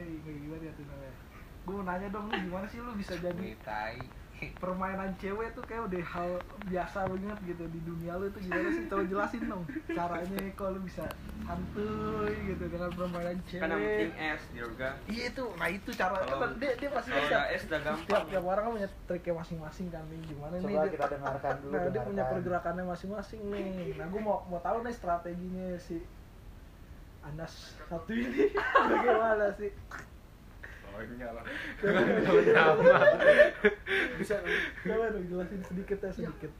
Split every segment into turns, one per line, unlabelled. ya gue nanya dong lu gimana sih lu bisa jadi
tai
permainan cewek tuh kayak udah hal biasa banget gitu di dunia lu itu gimana sih coba jelasin dong caranya kalau lu bisa santuy gitu dengan permainan
kan yang penting
cewek
es Yoga
iya itu nah itu cara
Kalau-
dia dia pasti
kalau
bisa
nggak es udah gampang
tiap tiap orang kan punya triknya masing-masing kan nih gimana nih
Coba
dia-
kita dengarkan dulu.
nah dia punya
dengarkan.
pergerakannya masing-masing nih nah gue mau mau tahu nih strateginya si Anas satu ini bagaimana sih
Konyol.
bisa coba dong jelasin sedikit ya sedikit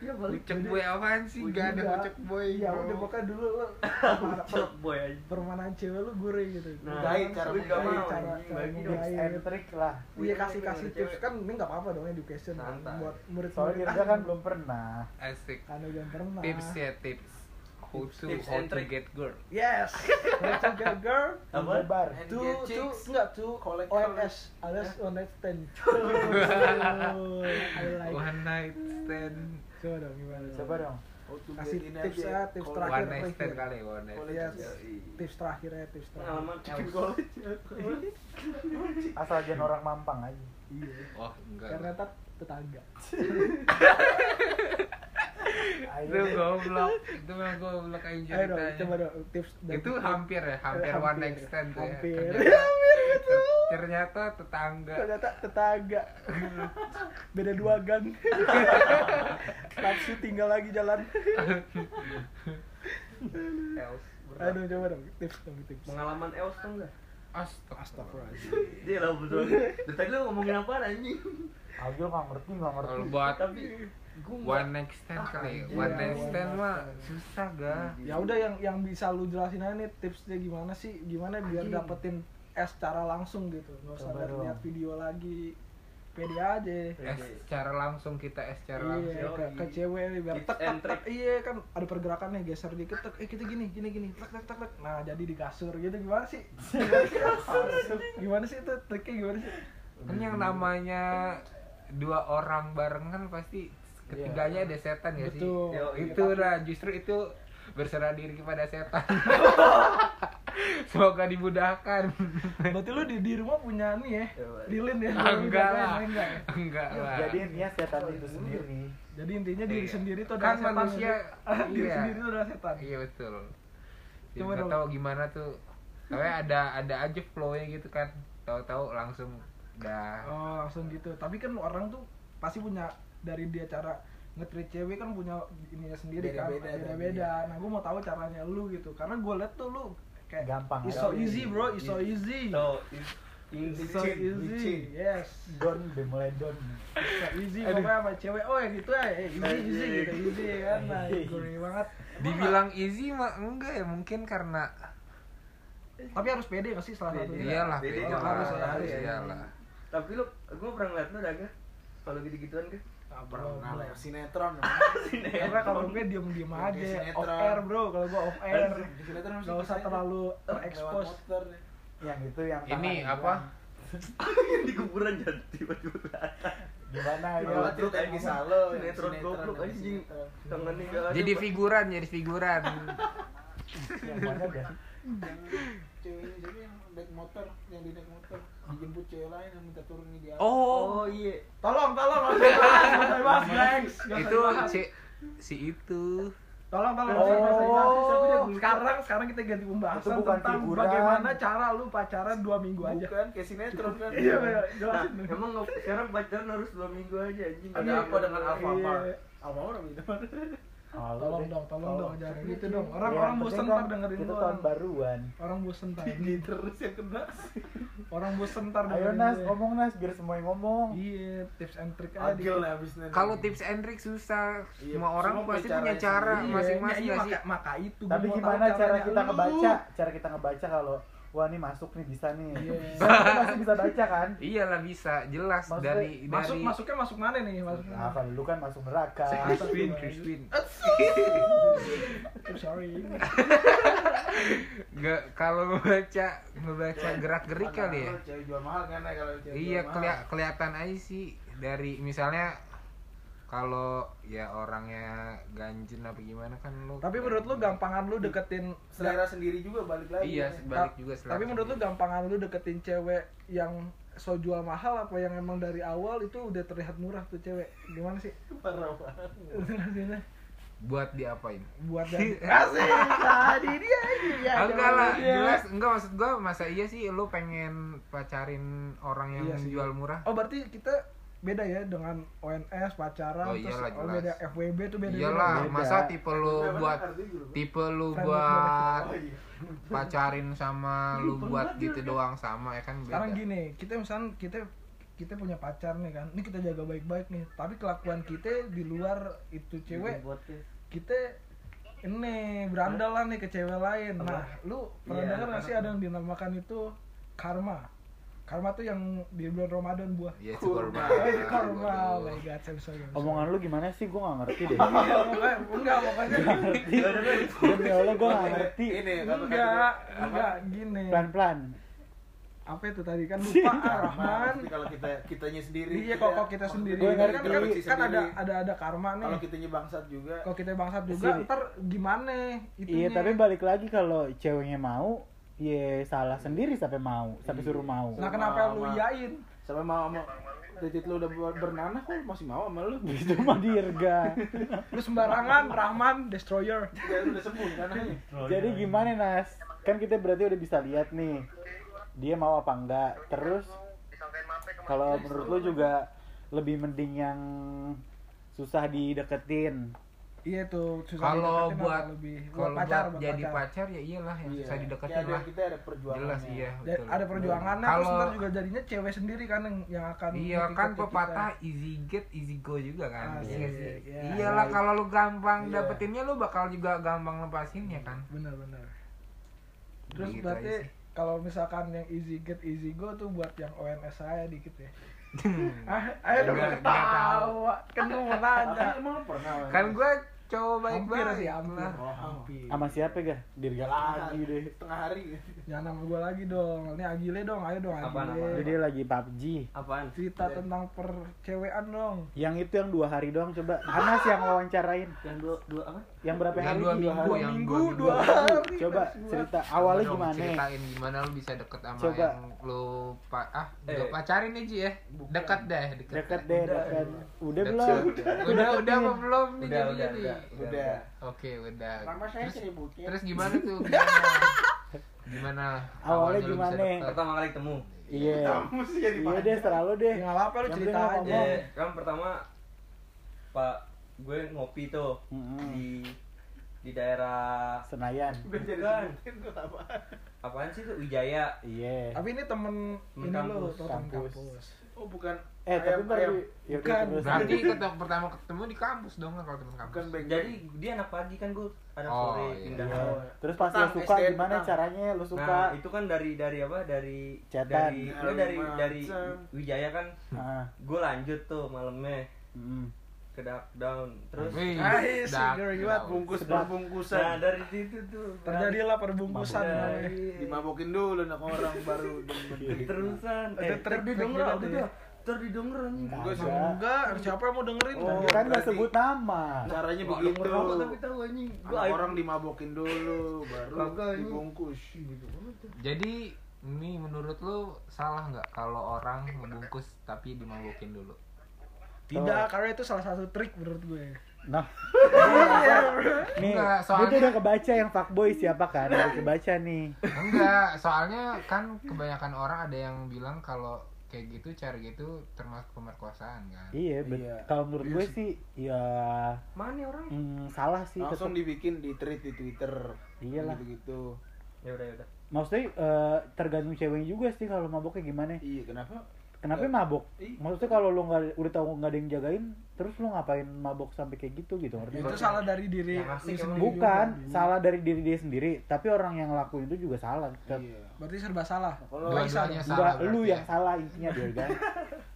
Iya, balik
Ucek
Jadi-
boy apaan sih? Gak ada
Enggak.
ucek boy.
Iya,
bro.
udah pokoknya dulu lo
Cok boy aja
permainan cewek lu gurih gitu.
Nah,
Jangan-
cara
lu
main.
gak mau, cara
anjing.
cara
Bagi
Tips
main.
and trick lah.
Iya kasih kasih tips
Cewek.
kan ini nggak apa-apa dong education kan
Santai.
buat
Soalnya
murid-murid
Girza kan belum pernah.
Asik.
karena jangan pernah.
Tips ya tips. How to
Tips
how
and
to
trick.
get girl.
Yes. How to get girl
Apa?
Lebar.
And
to
get
to
chicks.
enggak to
Collect-
OMS alias one night stand. Oh, I like.
One night stand.
Coba dong gimana? dong?
Coba dong.
Kasih tips ya, tips terakhir.
One night stand kali, ya, one night
Yes.
stand.
Tips terakhirnya tips terakhir.
pengalaman Els
Asal jangan
Hmm.
orang mampang aja.
Iya.
Oh, enggak.
Karena tak tetangga.
Itu
Ayo.
goblok. Itu memang goblok aja
Ayo dong,
ceritanya.
coba dong tips dari-
Iya, Itu hampir ya, hampir,
Hampir,
one night stand tuh ya.
hampir.
Ternyata, ternyata tetangga.
ternyata tetangga beda dua gang nafsu tinggal lagi jalan
Els. berat.
aduh coba dong tips dong tips
pengalaman Els tuh enggak
astagfirullahaladzim
dia Iya lah betul dari tadi lu ngomongin apa anjing
Ayo nggak ngerti nggak ngerti.
Kalau buat
tapi gua
one night stand kali, ya.
anjing.
one
Iya,
night
one
stand
night
mah
stand.
susah
Nah.
gak?
ya udah yang yang bisa lu jelasin aja nih tipsnya gimana sih gimana biar
Anjing.
dapetin es secara langsung gitu nggak usah
Coba
lihat
dong.
lihat video lagi pede aja
Es secara langsung kita es secara langsung.
Iya, ke,
langsung.
ke cewek biar
Tips
tek
and
tek tek.
trick.
Iya kan ada pergerakannya geser dikit tek. Eh kita gini gini gini tek tek tek tek. Nah, jadi di kasur gitu gimana sih? gimana sih itu triknya gimana sih? Iya.
Kan yang namanya dua orang barengan pasti ketiganya ada setan ya
Iya.
sih.
Betul. Iya.
Yo,
Itu lah justru itu berserah diri kepada setan. Semoga dimudahkan.
Berarti lu di, di rumah punya nih ya.
Coba.
Lilin ya.
Ah, enggak
Enggak,
lah.
enggak ya?
Enggak lah.
Jadi intinya setan itu sendiri.
Jadi intinya diri
Iya.
sendiri itu adalah
kan
setan.
manusia
Jadi- diri
iya.
sendiri itu adalah setan.
Iya betul. Jadi
Coba
nggak
dong.
tahu gimana tuh. Tapi ada ada aja flow-nya gitu kan. Tahu-tahu langsung udah
Oh, langsung gitu. Tapi kan orang tuh pasti punya dari dia cara ngetrit cewek kan punya ininya sendiri kan
Beda-beda dan
beda-beda.
iya.
Nah, gue mau tahu caranya lu gitu. Karena gue liat tuh lu kayak
Gampang
It's
aja.
so easy, bro. It's
Iya.
so easy.
so
It's
is is-
so
licin, licin.
easy. Yes.
Don udah mulai don.
It's so easy pokoknya sama cewek. Oh, ya gitu ya. Eh, Easy, easy gitu. Easy kan. Nah, gurih banget.
dibilang easy mah enggak ya mungkin karena
Tapi harus pede gak sih salah
Pede.
satunya?
iyalah
Jadi
beda
harus,
lah,
Iya, harus, harus.
iyalah.
tapi lu gua pernah ngeliat lu dah Ga? kalau gitu-gituan kan
Nah, bro,
pernah lah
bro.
sinetron ya.
Karena kalau gue diem-diem
Kayak
aja,
sinetron.
off air bro, kalau gue off air
Di sinetron mesti
Gak usah
kita-
terlalu
lewat
terekspos
motor deh.
Yang itu yang
Ini
tangan
apa?
di kuburan jadi tiba-tiba
Gimana Gimana ya?
Lewat
ayo?
truk kayak di Salo, yang
Sinetron goblok,
yang
anjing.
sinetron.
tangannya nggak ada
Jadi
Pak.
figuran, jadi figuran.
Yang mana dah?
Yang ceweknya jadi yang naik motor yang di naik motor dijemput cewek lain yang minta turun di atas
Oh,
oh iya
Tolong, tolong, gak usah dibahas, gak usah dibahas, Blanks. Gak usah
itu
dibahas.
si si itu.
Tolong, tolong, gak
Oh.
usah dibahas. Tapi dia- Sekarang, sekarang kita ganti pembahasan
Itu bukan
tentang
figuran.
bagaimana cara lu pacaran dua minggu aja
bukan kayak sinetron kan
Iya, iya,
nah,
jelasin dong.
emang nggak- sekarang pacaran harus dua minggu aja anjing
Ada
Iya.
apa dengan Alfamart?
Iya.
apa orang itu
Malu
Tolong
deh.
dong, tolong dong, jangan gitu dong. Orang
Ya,
orang
yang
bosen
penting
ntar
kan
dengerin
Itu
lu.
tahun
orang.
baruan.
Orang bosen ntar.
ini terus yang kena
Orang bosen ntar
Ayo
dengerin
Nas,
gue.
ngomong Nas biar semuanya ngomong.
Iya, tips and trick aja. Iya,
agil lah abis nanti
Kalau tips and trick susah.
Iya,
Semua orang
semua
pasti
punya
punya
caranya
cara
Iya,
masing-masing
iya,
nggak sih?
maka, maka itu gua
Tapi
mau
gimana
tahu
cara
caranya
kita
lu.
ngebaca? Cara kita ngebaca kalau wah ini masuk nih bisa nih.
Iya.
Bisa, kita masih bisa baca kan?
Iyalah bisa, jelas
Maksudnya,
dari
Masuk
dari
masuknya masuk mana nih? Masuk.
Nah, kalau lu kan masuk neraka.
Crispin, Crispin.
I'm sorry.
Nggak, kalau ngebaca ngebaca gerak gerik kali ya.
cewek jual mahal kan nah, kalau
Ya,
cewek
Iya
jual mahal.
kelia- kelihatan aja sih dari misalnya kalau ya orangnya ganjen apa gimana kan lu
Tapi menurut lu gampangan lu deketin
selera sendiri juga balik lagi
iya
ya.
balik juga selera
Tapi menurut lu
sendiri.
gampangan lu deketin cewek yang so jual mahal apa yang emang dari awal itu udah terlihat murah tuh cewek gimana sih
parah banget
Rasanya
buat diapain?
buat dan
Eh,
asik tadi dia
Iya,
dia
Ah, enggak lah,
dia.
jelas enggak maksud gua masa iya sih lu pengen pacarin orang yang
Iya sih.
jual murah?
oh berarti kita beda ya dengan ONS pacaran
Oh,
terus
iyalah,
oh,
jelas.
beda FWB tuh Nah, beda
Iyalah,
Beda.
Iya masa tipe lu
Kenapa
buat
nakar dulu?
gitu.
tipe lu
Friend
buat
Oh, iya.
pacarin sama lu
Lupa
buat
banget
gitu
dia.
doang sama ya kan
sekarang
beda.
gini kita misalnya kita kita punya pacar nih kan ini kita jaga baik-baik nih tapi kelakuan kita di luar itu cewek
Dibuatnya.
kita ini berandal lah nih ke cewek lain
Apa?
nah lu pernah
Iya,
dengar nggak sih ada
karena-
yang dinamakan itu karma karma tuh yang di bulan Ramadan buah
Ya itu korban.
Oh,
Ah,
itu karma, oh
Waduh.
my god, I'm sorry. I'm sorry.
Omongan lu gimana sih? Gue gak ngerti deh.
Iya, pokoknya- enggak
Iya,
pokoknya
Demi Allah gue gak ngerti.
ini kalau kata
enggak
dia,
enggak gini
Pelan-pelan.
apa itu tadi kan lupa ah,
karma,
Rahman
maksudnya kalau kita kitanya sendiri
iya
kita-
kok kok kita sendiri
Gua
kan
ngerti.
kan,
Kita
kan ada
sendiri.
ada ada karma
kalau
nih
kitanya bangsat juga
kalau kita bangsat juga
Sini.
ntar gimana
Iya
itunya.
tapi balik lagi kalau ceweknya mau, ya salah sendiri sampai mau, sampai suruh mau.
nah kenapa lu
Sama-
yain
sampai mau sama titik lu udah ber- bernanah kok masih mau sama lu
Itu mah dirga.
lu sembarangan Rahman destroyer
ya udah sembuh nanahnya
Jadi gimana Nas? Kan kita berarti udah bisa lihat nih dia mau apa enggak. Terus kalau menurut lu juga lebih mending yang susah dideketin.
iya tuh susah
Kalau
dideketin
buat
apa lebih
kalau
buat pacar
buat
buat
jadi
pacar
pacar ya iyalah yang
Iya.
susah
Kayak
dideketin
ada-
lah.
kita ada perjuangan
Jelas iya.
Dan
betul.
gitu, ada perjuangannya terus
Kalau-
ntar juga jadinya cewek sendiri kan yang, yang akan
Iya
ngikutin
kan
kita.
pepatah easy get easy go juga kan.
Asik,
Iya sih.
iya.
Iyalah kalau lu gampang
Iya.
dapetinnya lu bakal juga gampang lepasinnya kan.
benar-benar terus
Gitu
berarti
aja sih.
kalau misalkan yang easy get easy go tuh buat yang ONS saya dikit ya ah ayo dong
Enggak- enggak
ketawa kan lu mau nanya
Tapi emang lu pernah Wan?
kan gue coba
hampir
baik-baik
sih hampir
lah.
Oh,
hampir
Sama siapa Iya. gak? Dirga lagi deh.
tengah hari
jangan sama gue lagi dong ini Agile dong ayo dong
Apaan,
Agile
Jadi dia lagi PUBG.
Apaan?
cerita tentang percewean dong
Yang itu yang dua hari doang coba. Anas yang wawancarain.
Yang dua dua apa?
Yang berapa
Yang
hari?
dua
Dua
minggu
hari.
yang
minggu
dua
dua
minggu.
hari
Coba
Mas, gua.
cerita awalnya
Dong,
gimana?
Ceritain gimana lu bisa deket sama
Coba.
yang lu pa ah
Eh.
lu pacarin aja ya.
Bukan.
Dekat deh, dekat.
Dekat deh, dekat. Udah
Dekat.
belum?
Udah udah apa belum nih
Udah, udah,
jadi-jadi?
udah.
udah
Oke, udah.
nama saya
Iya, Terus,
seributin
terus gimana tuh? Gimana? Gimana?
Awalnya
lu bisa
gimana?
deket?
Pertama kali ketemu.
Iya.
kamu sih jadi
Iya deh, selalu
ya
deh.
nggak apa-apa lu
Yang
cerita
penting
aja
ngomong.
Eh, kan pertama Pak gue ngopi tuh
Mm-mm.
di di daerah
Senayan.
udah jadi
Bukan.
sebutin tuh apa
apaan sih tuh Wijaya.
Iya.
tapi ini temen
Temen
ini lo
kampus,
temen
kampus.
kampus
oh bukan
Eh, tapi
ayam-
ntar
ayam.
di- ya udah,
Bukan,
terus.
Berarti ketemu pertama ketemu di kampus dong lah kalau teman kampus.
bukan back
Jadi dia anak pagi kan gue anak
Oh,
sore
iya.
pindah.
Iya.
Oh.
Terus pas lu
Tentang
suka
SDN,
gimana
tentang.
caranya lu
Nah,
suka?
itu kan dari dari apa? Dari
Chatan.
dari gue dari
Macam.
dari Wijaya kan
Ah,
gue lanjut tuh malamnya
mm.
ke Duck Down. Terus
Wih,
Ah, iya sih,
dah,
girl,
dah.
you are
bungkus
Sedap.
perbungkusan
nah dari situ tuh Iya,
terjadilah perbungkusan
Mabuk.
namanya.
dimabokin dulu anak orang baru
Iya.
terusan
gitu. Ada
eh,
trik-trik
terdidengar
gitu
aku
tuh.
tuh terdidengar anjing
Enggak.
gue
Nah, enggak siapa yang mau dengerin
Oh,
kan nggak
berarti- Nah.
sebut nama.
caranya
Wah,
begitu
denger apa tapi tahu anjing gue
Anak orang dimabokin dulu baru
Kagak, ini.
dibungkus
gitu. Jadi ini menurut lu salah nggak kalau orang ngebungkus tapi dimabokin dulu?
tidak karena itu salah satu trik menurut gue
Nah, nih,
Enggak,
dia tuh
soalnya-
udah kebaca yang fuckboy siapa kan? Udah kebaca nih.
Enggak, soalnya kan kebanyakan orang ada yang bilang kalau kayak gitu cara gitu termasuk pemerkosaan kan.
Iya, bet-
Iya.
kalau menurut
Iya
gue
sih.
sih, ya
mana ya orang
mm, salah sih.
langsung
tetep.
dibikin di tweet di twitter
Iyalah.
gitu
ya udah ya udah
Maksudnya eh, tergantung ceweknya juga sih kalau maboknya gimana.
iya kenapa
Kenapa
Iya.
mabok?
Ih.
Maksudnya kalau lu nggak udah tahu nggak ada yang jagain, terus lu ngapain mabok sampai kayak gitu gitu? Ngerti
Iya.
itu
nggak?
salah dari diri
Yang asik
lu
emang.
sendiri
Bukan
juga.
salah dari diri dia sendiri, tapi orang yang lakuin itu juga salah. Tetap.
iya
berarti serba salah
kalau
Dua-duanya
Enggak,
salah.
lu
berarti
yang
ya.
salah intinya dia kan.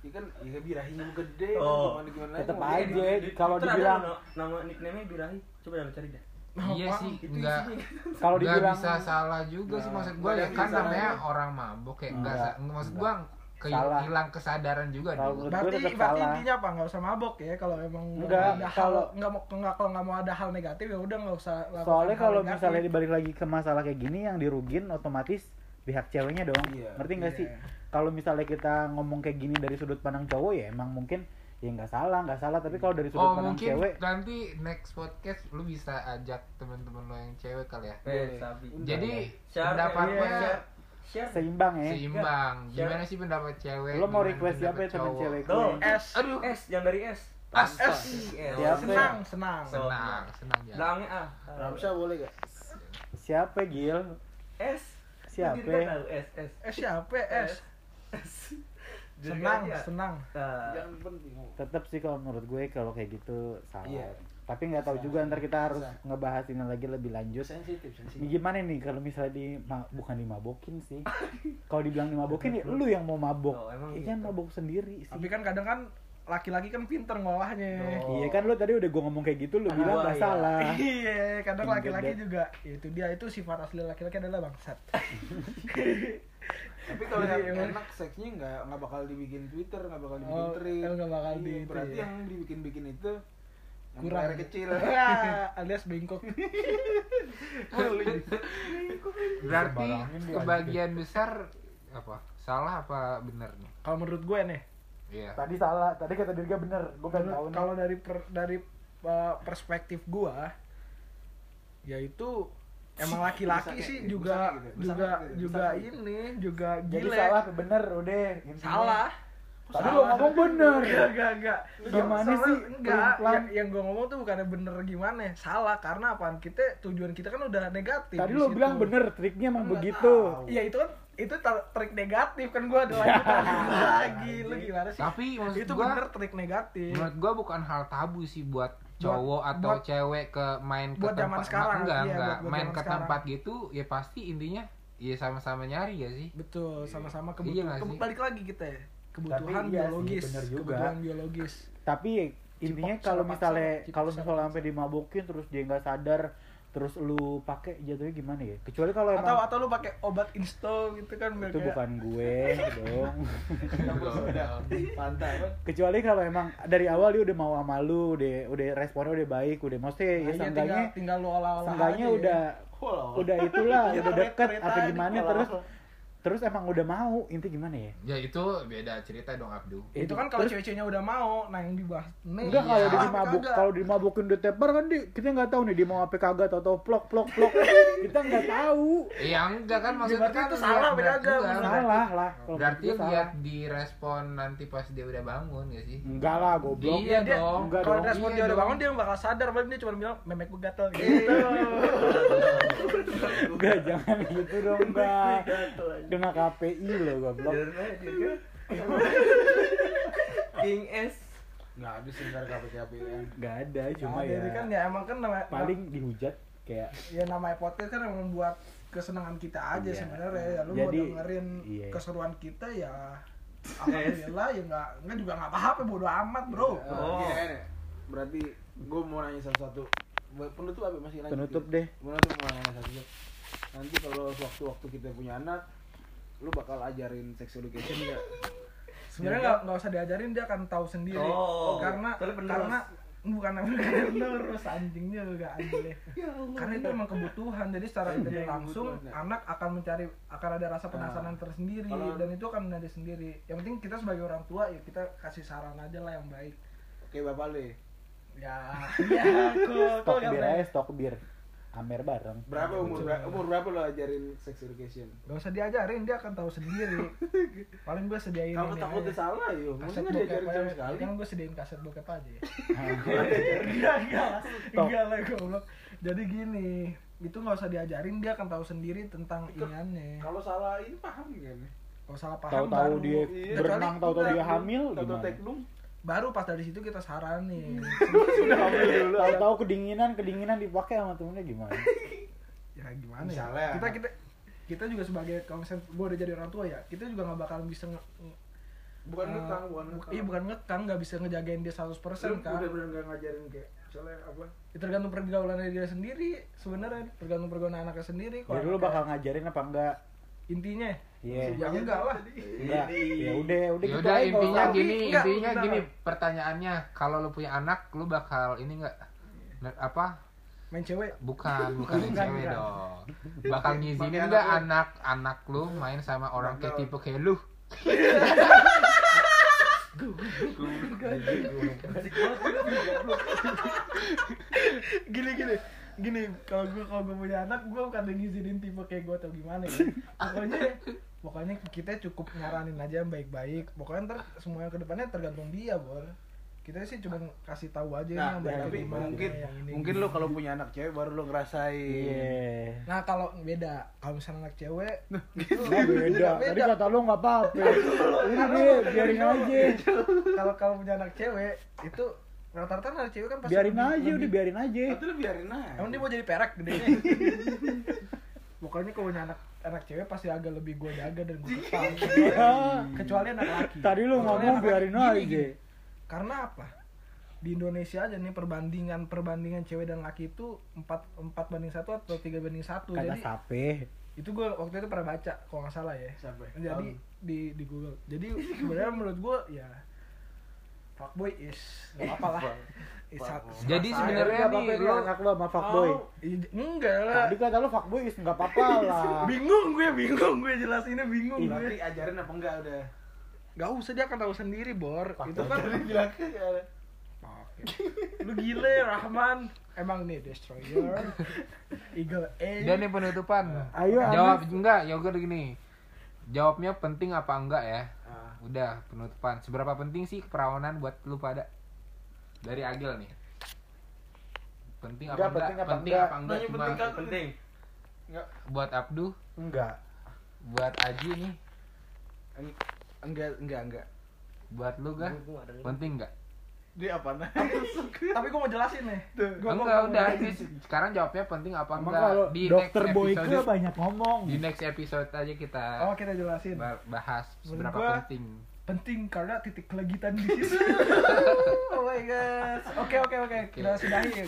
Iya kan, iya birahinya mau gede,
Oh.
gimana gimana
Tetep
mau
aja.
gede.
Di- di
kalau
Twitter ada
dibilang-
no- nama nickname-nya Birahi coba dah lu cari dah
Oh,
Iya sih,
gitu
itu
enggak
isinya.
Kalau
nggak
dibilang
bisa salah juga sih
Nah,
maksud gua
nggak
ya
ada
kan
bisa
namanya
salahnya.
orang mabok ya enggak,
Enggak,
sa- maksud
enggak.
gua ke
Salah.
hilang kesadaran juga
Kalau
dulu.
menurut
berarti
tetap
berarti
salah.
intinya apa nggak usah mabok ya kalau emang
Enggak,
nggak ada
kalau-
hal nggak mau nggak kalau nggak mau ada hal negatif ya udah nggak usah lakukan
soalnya
hal
kalau
negatif.
misalnya dibalik lagi ke masalah kayak gini yang dirugin otomatis pihak ceweknya dong.
Iya,
Ngerti nggak
Iya.
sih? kalau misalnya kita ngomong kayak gini dari sudut pandang cowok ya emang mungkin ya nggak salah nggak salah tapi kalau dari sudut
Oh
pandang
mungkin
cewek
nanti next podcast lu bisa ajak temen-temen lo yang cewek kali ya.
Iya,
Eh, sabi.
Jadi
Share,
pendapatnya
iya, share. share.
seimbang ya
seimbang.
Enggak.
Gimana sih pendapat cewek?
lo mau
Gimana
request
pendapat
siapa ya teman
cowok?
cewek
Tuh,
gue
S.
Aduh.
S, yang dari S.
As,
S.
as.
Iya.
Siapa?
senang senang
So-
Senang, senang ya.
Belakangnya A.
Ramsya boleh gak?
siapa gil
S.
siapa
Sendiri kan tahu, S, S.
eh siapa es
S. Sendiri
senang
aja.
senang
Nah,
Yang penting
tetap sih kalau menurut gue kalau kayak gitu salah
Iya.
tapi nggak tahu
Salah.
juga ntar kita harus
Salah.
ngebahas ini lagi lebih lanjut
Sensitif,
Ini
Iya.
sensitif
gimana nih kalau misalnya di ma- bukan dimabokin sih kalau dibilang dimabokin ya lu yang mau mabok
Oh, emang
iya kan
gitu.
mabok sendiri sih
tapi kan kadang kan laki-laki kan pinter ngolahnya
Oh.
Iya kan lu tadi udah gua ngomong kayak gitu lu
Ah,
bilang nggak
iya.
salah.
iya kadang
Pinter
laki-laki
banget.
juga Ya, itu dia itu sifat asli laki-laki adalah bangsat
Tapi kalau
Jadi,
yang
emang-
enak seksnya nggak nggak bakal dibikin Twitter, nggak bakal dibikin
iya, Oh,
thread.
el nggak bakal
Iya,
di itu
Berarti
ya.
yang dibikin-bikin itu yang
kurang
bayar kecil.
Ah, alias bengkok
Berarti
Sembarangin dia
kebagian besar apa? Salah apa benar nih?
kalau menurut gue nih
Iya.
Tadi salah, tadi kata Dirga bener. Gua pengen
Menurut-
tahu nih.
kalau dari per- dari uh, perspektif gua yaitu emang laki-laki
Misalnya
sih
gitu,
juga
misalnya gitu,
juga
misalnya gitu,
juga
misalnya gitu.
ini juga
Jadi
gile
salah ke bener udah. intinya.
salah
Tadi lu ngomong bener.
enggak enggak enggak
Gimana
Soalnya
sih?
enggak
Pelan-pelan.
yang, yang gua ngomong tuh bukannya bener gimana ya? salah karena apaan kita tujuan kita kan udah negatif
Tadi
di
lu
situ.
bilang bener, triknya emang
Nggak
begitu.
iya itu kan itu tar- trik negatif kan gua ada lagi lagi lu gimana sih
Tapi Nah, maksud
itu
gua
bener trik negatif
menurut gua bukan hal tabu sih buat cowok
Buat-
atau
buat-
cewek ke main ke
buat zaman
tempat
sekarang,
enggak,
iya,
enggak.
buat- buat
main
zaman
ke
sekarang.
tempat gitu ya pasti intinya ya sama-sama nyari ya sih
Betul, sama-sama
Iya
kebutuhan.
nggak sih?
balik lagi kita ya. Kebutuhan
Tapi iya sih,
biologis,
bener juga.
kebutuhan biologis.
Tapi intinya
Cipok
kalau
salah paksa,
misalnya
cipok
kalau
salah
misalnya
paksa.
sampai dimabokin terus dia nggak sadar terus lu pakai jatuhnya gimana ya? Kecuali kalau
Atau
emang
atau lu pakai obat insto gitu kan biar
itu
kayak-
bukan Iya, gue gitu. dong.
Campur soda. Pantai kan.
Kecuali kalau emang dari awal dia udah mau sama lu, udah udah responnya udah baik, udah maksudnya
Iya,
ya seenggaknya
tinggal, tinggal lu olah-olah.
seenggaknya
aja ya.
udah udah itulah
Iya,
udah deket
ternyata
atau
ini
gimana
kalau-
terus terus emang udah mau inti gimana
Iya,
ya
ya itu beda cerita dong Abdu
itu kan kalau
Iya. Terus-
cewek-ceweknya udah mau, nah yang dibahas. Nih,
enggak kalau
Iya.
dia
salah apa
dimabuk
kagak?
kalau dimabukin udah tepar kan di, kita nggak tahu nih dia mau apa kagak atau tau plok plok plok kita nggak tahu
ya enggak kan maksudnya
Berarti
kan
itu
lihat-
salah,
lihat
beda agama.
juga.
salah lah kalau
berarti
menurut gue
lihat di respon nanti pas dia udah bangun ya sih
enggak lah goblok
iya
dia-
dong
enggak
Kalau
dong. Iya.
respon
Iya
dia udah
dong.
bangun dia bakal sadar, paling dia cuma bilang memek gue gatel gitu.
enggak jangan gitu dong mbak
Iya,
kena KPI lo goblok
Bener aja, Dirga. King S.
Nggak ada sih ntar KPKP kan.
nggak ada cuma
Nah,
ya
jadi kan ya emang kan namanya
paling dihujat kayak
ya namanya podcast kan emang buat kesenangan kita aja
Iya.
sebenarnya ya lu mau
Jadi,
dengerin
iya.
keseruan kita ya alhamdulillah ya nggak nggak juga nggak apa-apa bodo amat bro
Oh. Berarti gue mau nanya satu-satu. Buat Penutup apa masih lanjut?
penutup
Gitu?
deh
Penutup mau nanya satu-satu. Nanti kalau waktu-waktu kita punya anak, lu bakal ajarin sex education nggak?
sebenarnya nggak nggak usah diajarin dia akan tahu sendiri
Oh,
karena
soalnya penerus.
karena bukan penerus anjingnya juga anjing karena itu emang kebutuhan jadi secara
Iya,
tidak langsung
kebutuhan, ya.
anak akan mencari akan ada rasa penasaran tersendiri
Kalau-
dan itu akan menjadi sendiri yang penting kita sebagai orang tua ya kita kasih saran aja lah yang baik
Oke bapak le.
ya ya kok
stok
kok
bir
nggak
aja stok bir Amer bareng
Berapa
Nah,
umur berapa, umur berapa lo ajarin sex education?
Gak usah diajarin, dia akan tahu sendiri. Paling gue sediain
Kalau
ini
takutnya
aja.
salah yo,
Kaset
mungkin nggak
bokep
diajarin
aja,
sama sekali.
kan gue sediain kaset bokep aja ya
enggak
Enggak lah, enggak lah goblok Jadi gini, itu gak usah diajarin, dia akan tahu sendiri tentang iniannya
Kalau salah ini paham kan?
Kalau salah paham baru,
tahu-tahu dia
Iya,
berenang
kecuali
tahu-tahu dia
teknum,
hamil
Tahu-tahu
gimana
teknum.
baru pas dari situ kita saranin
Sudah hamil dulu.
tahu-tahu kedinginan kedinginan dipakai sama temennya gimana
Ya gimana
Misalnya.
ya, kita, kita kita juga sebagai kalau misalnya gue udah jadi orang tua ya kita juga nggak bakal bisa nge,
Bukan
eh,
ngekang, bukan ngekang.
iya bukan ngekang nggak bisa ngejagain dia 100%
Lu
kan
udah bener nggak ngajarin kayak misalnya apa?
Ya, tergantung pergaulannya dia sendiri sebenarnya tergantung pergaulan anaknya sendiri
jadi lu bakal ngajarin apa enggak
intinya
iya
ya enggak lah
enggak ya udah udah
ya
gitu
udah
aja nggak
intinya
usah.
gini
Enggak,
intinya
bentar.
gini pertanyaannya kalau lu punya anak lu bakal ini enggak ne- apa
main cewek
bukan bukan yang
Bukan,
cewek
bukan.
dong bakal ngizinin
Pakai
enggak
anak lu.
anak anak lu main sama orang kayak tipe kayak lu
gini gini gini kalau gue kalau gue punya anak gue bukan yang ngizinin tipe kayak gue atau gimana ya pokoknya pokoknya kita cukup nyaranin aja yang baik-baik pokoknya ntar semuanya kedepannya tergantung dia bor kita sih cuma kasih tahu aja
Nah,
yang baik
tapi
gimana,
mungkin
yang ini
mungkin lo
gimana.
kalau punya anak cewek baru lo ngerasain.
Iya.
nah kalau beda kalau misalnya anak cewek
Nah, beda. Tadi kata lo nggak apa-apa. Ini dia biarin aja.
kalau kalau punya anak cewek itu rata-rata anak cewek kan pasti
Biarin
lebih-
aja
lebih-
udah biarin aja.
Itu lo biarin aja.
Emang dia mau jadi perak gedenya. Pokoknya kalau punya anak anak cewek pasti agak lebih gue jaga dan gue ketat.
Iya.
Kecuali anak laki.
Tadi lo
Kecuali
ngomong
anak laki.
biarin
Gini,
aja.
gini. Karena apa? Di Indonesia aja nih perbandingan perbandingan cewek dan laki itu 4 4 banding 1 atau 3 banding 1.
Kata
Jadi
sape.
itu gue waktu itu pernah baca kalau nggak salah ya.
Siapa?
Jadi di di Google. Jadi sebenarnya menurut gue ya fuckboy is nggak apa-apa lah. Is satu-
Jadi
perasaan.
sebenarnya nih,
Sebenarnya nih
lo-
anak lo sama fuckboy.
Oh, iya, enggak lah.
Tadi kata lo fuckboy is nggak apa-apa lah.
bingung gue bingung gue jelasinnya bingung gue
Berarti ajarin apa enggak udah?
gak Iya. usah dia akan tahu sendiri bor itu kan
Tadi bilang ke ya.
lu gile Rahman emang nih destroyer eagle A
Dan nih penutupan.
Ayo,
Jawab
Anas.
enggak, ya udah gini. Jawabnya penting apa enggak ya?
Ah.
Udah penutupan. Seberapa penting sih keperawanan buat lu pada? Dari Agil nih. Penting apa
Enggak,
enggak?
penting apa
Penting
enggak?
apa enggak? Cuma
penting
buat Abdu,
Enggak.
buat Aji nih,
Enggak, enggak, enggak.
buat lu gak? Penting enggak?
Dia apa nah?
tapi gue mau jelasin nih Gua- gua-
Enggak
gua-
udah
gua-
ini sekarang jawabnya penting apa
Emang
enggak?
kalau
Di
dokter
next
Boyke
episode
banyak ngomong.
di next episode aja kita
oh kita
iya.
jelasin
ba- bahas seberapa
gua-
penting.
penting karena titik kelegitan di situ oh my god oke oke oke kita sudahi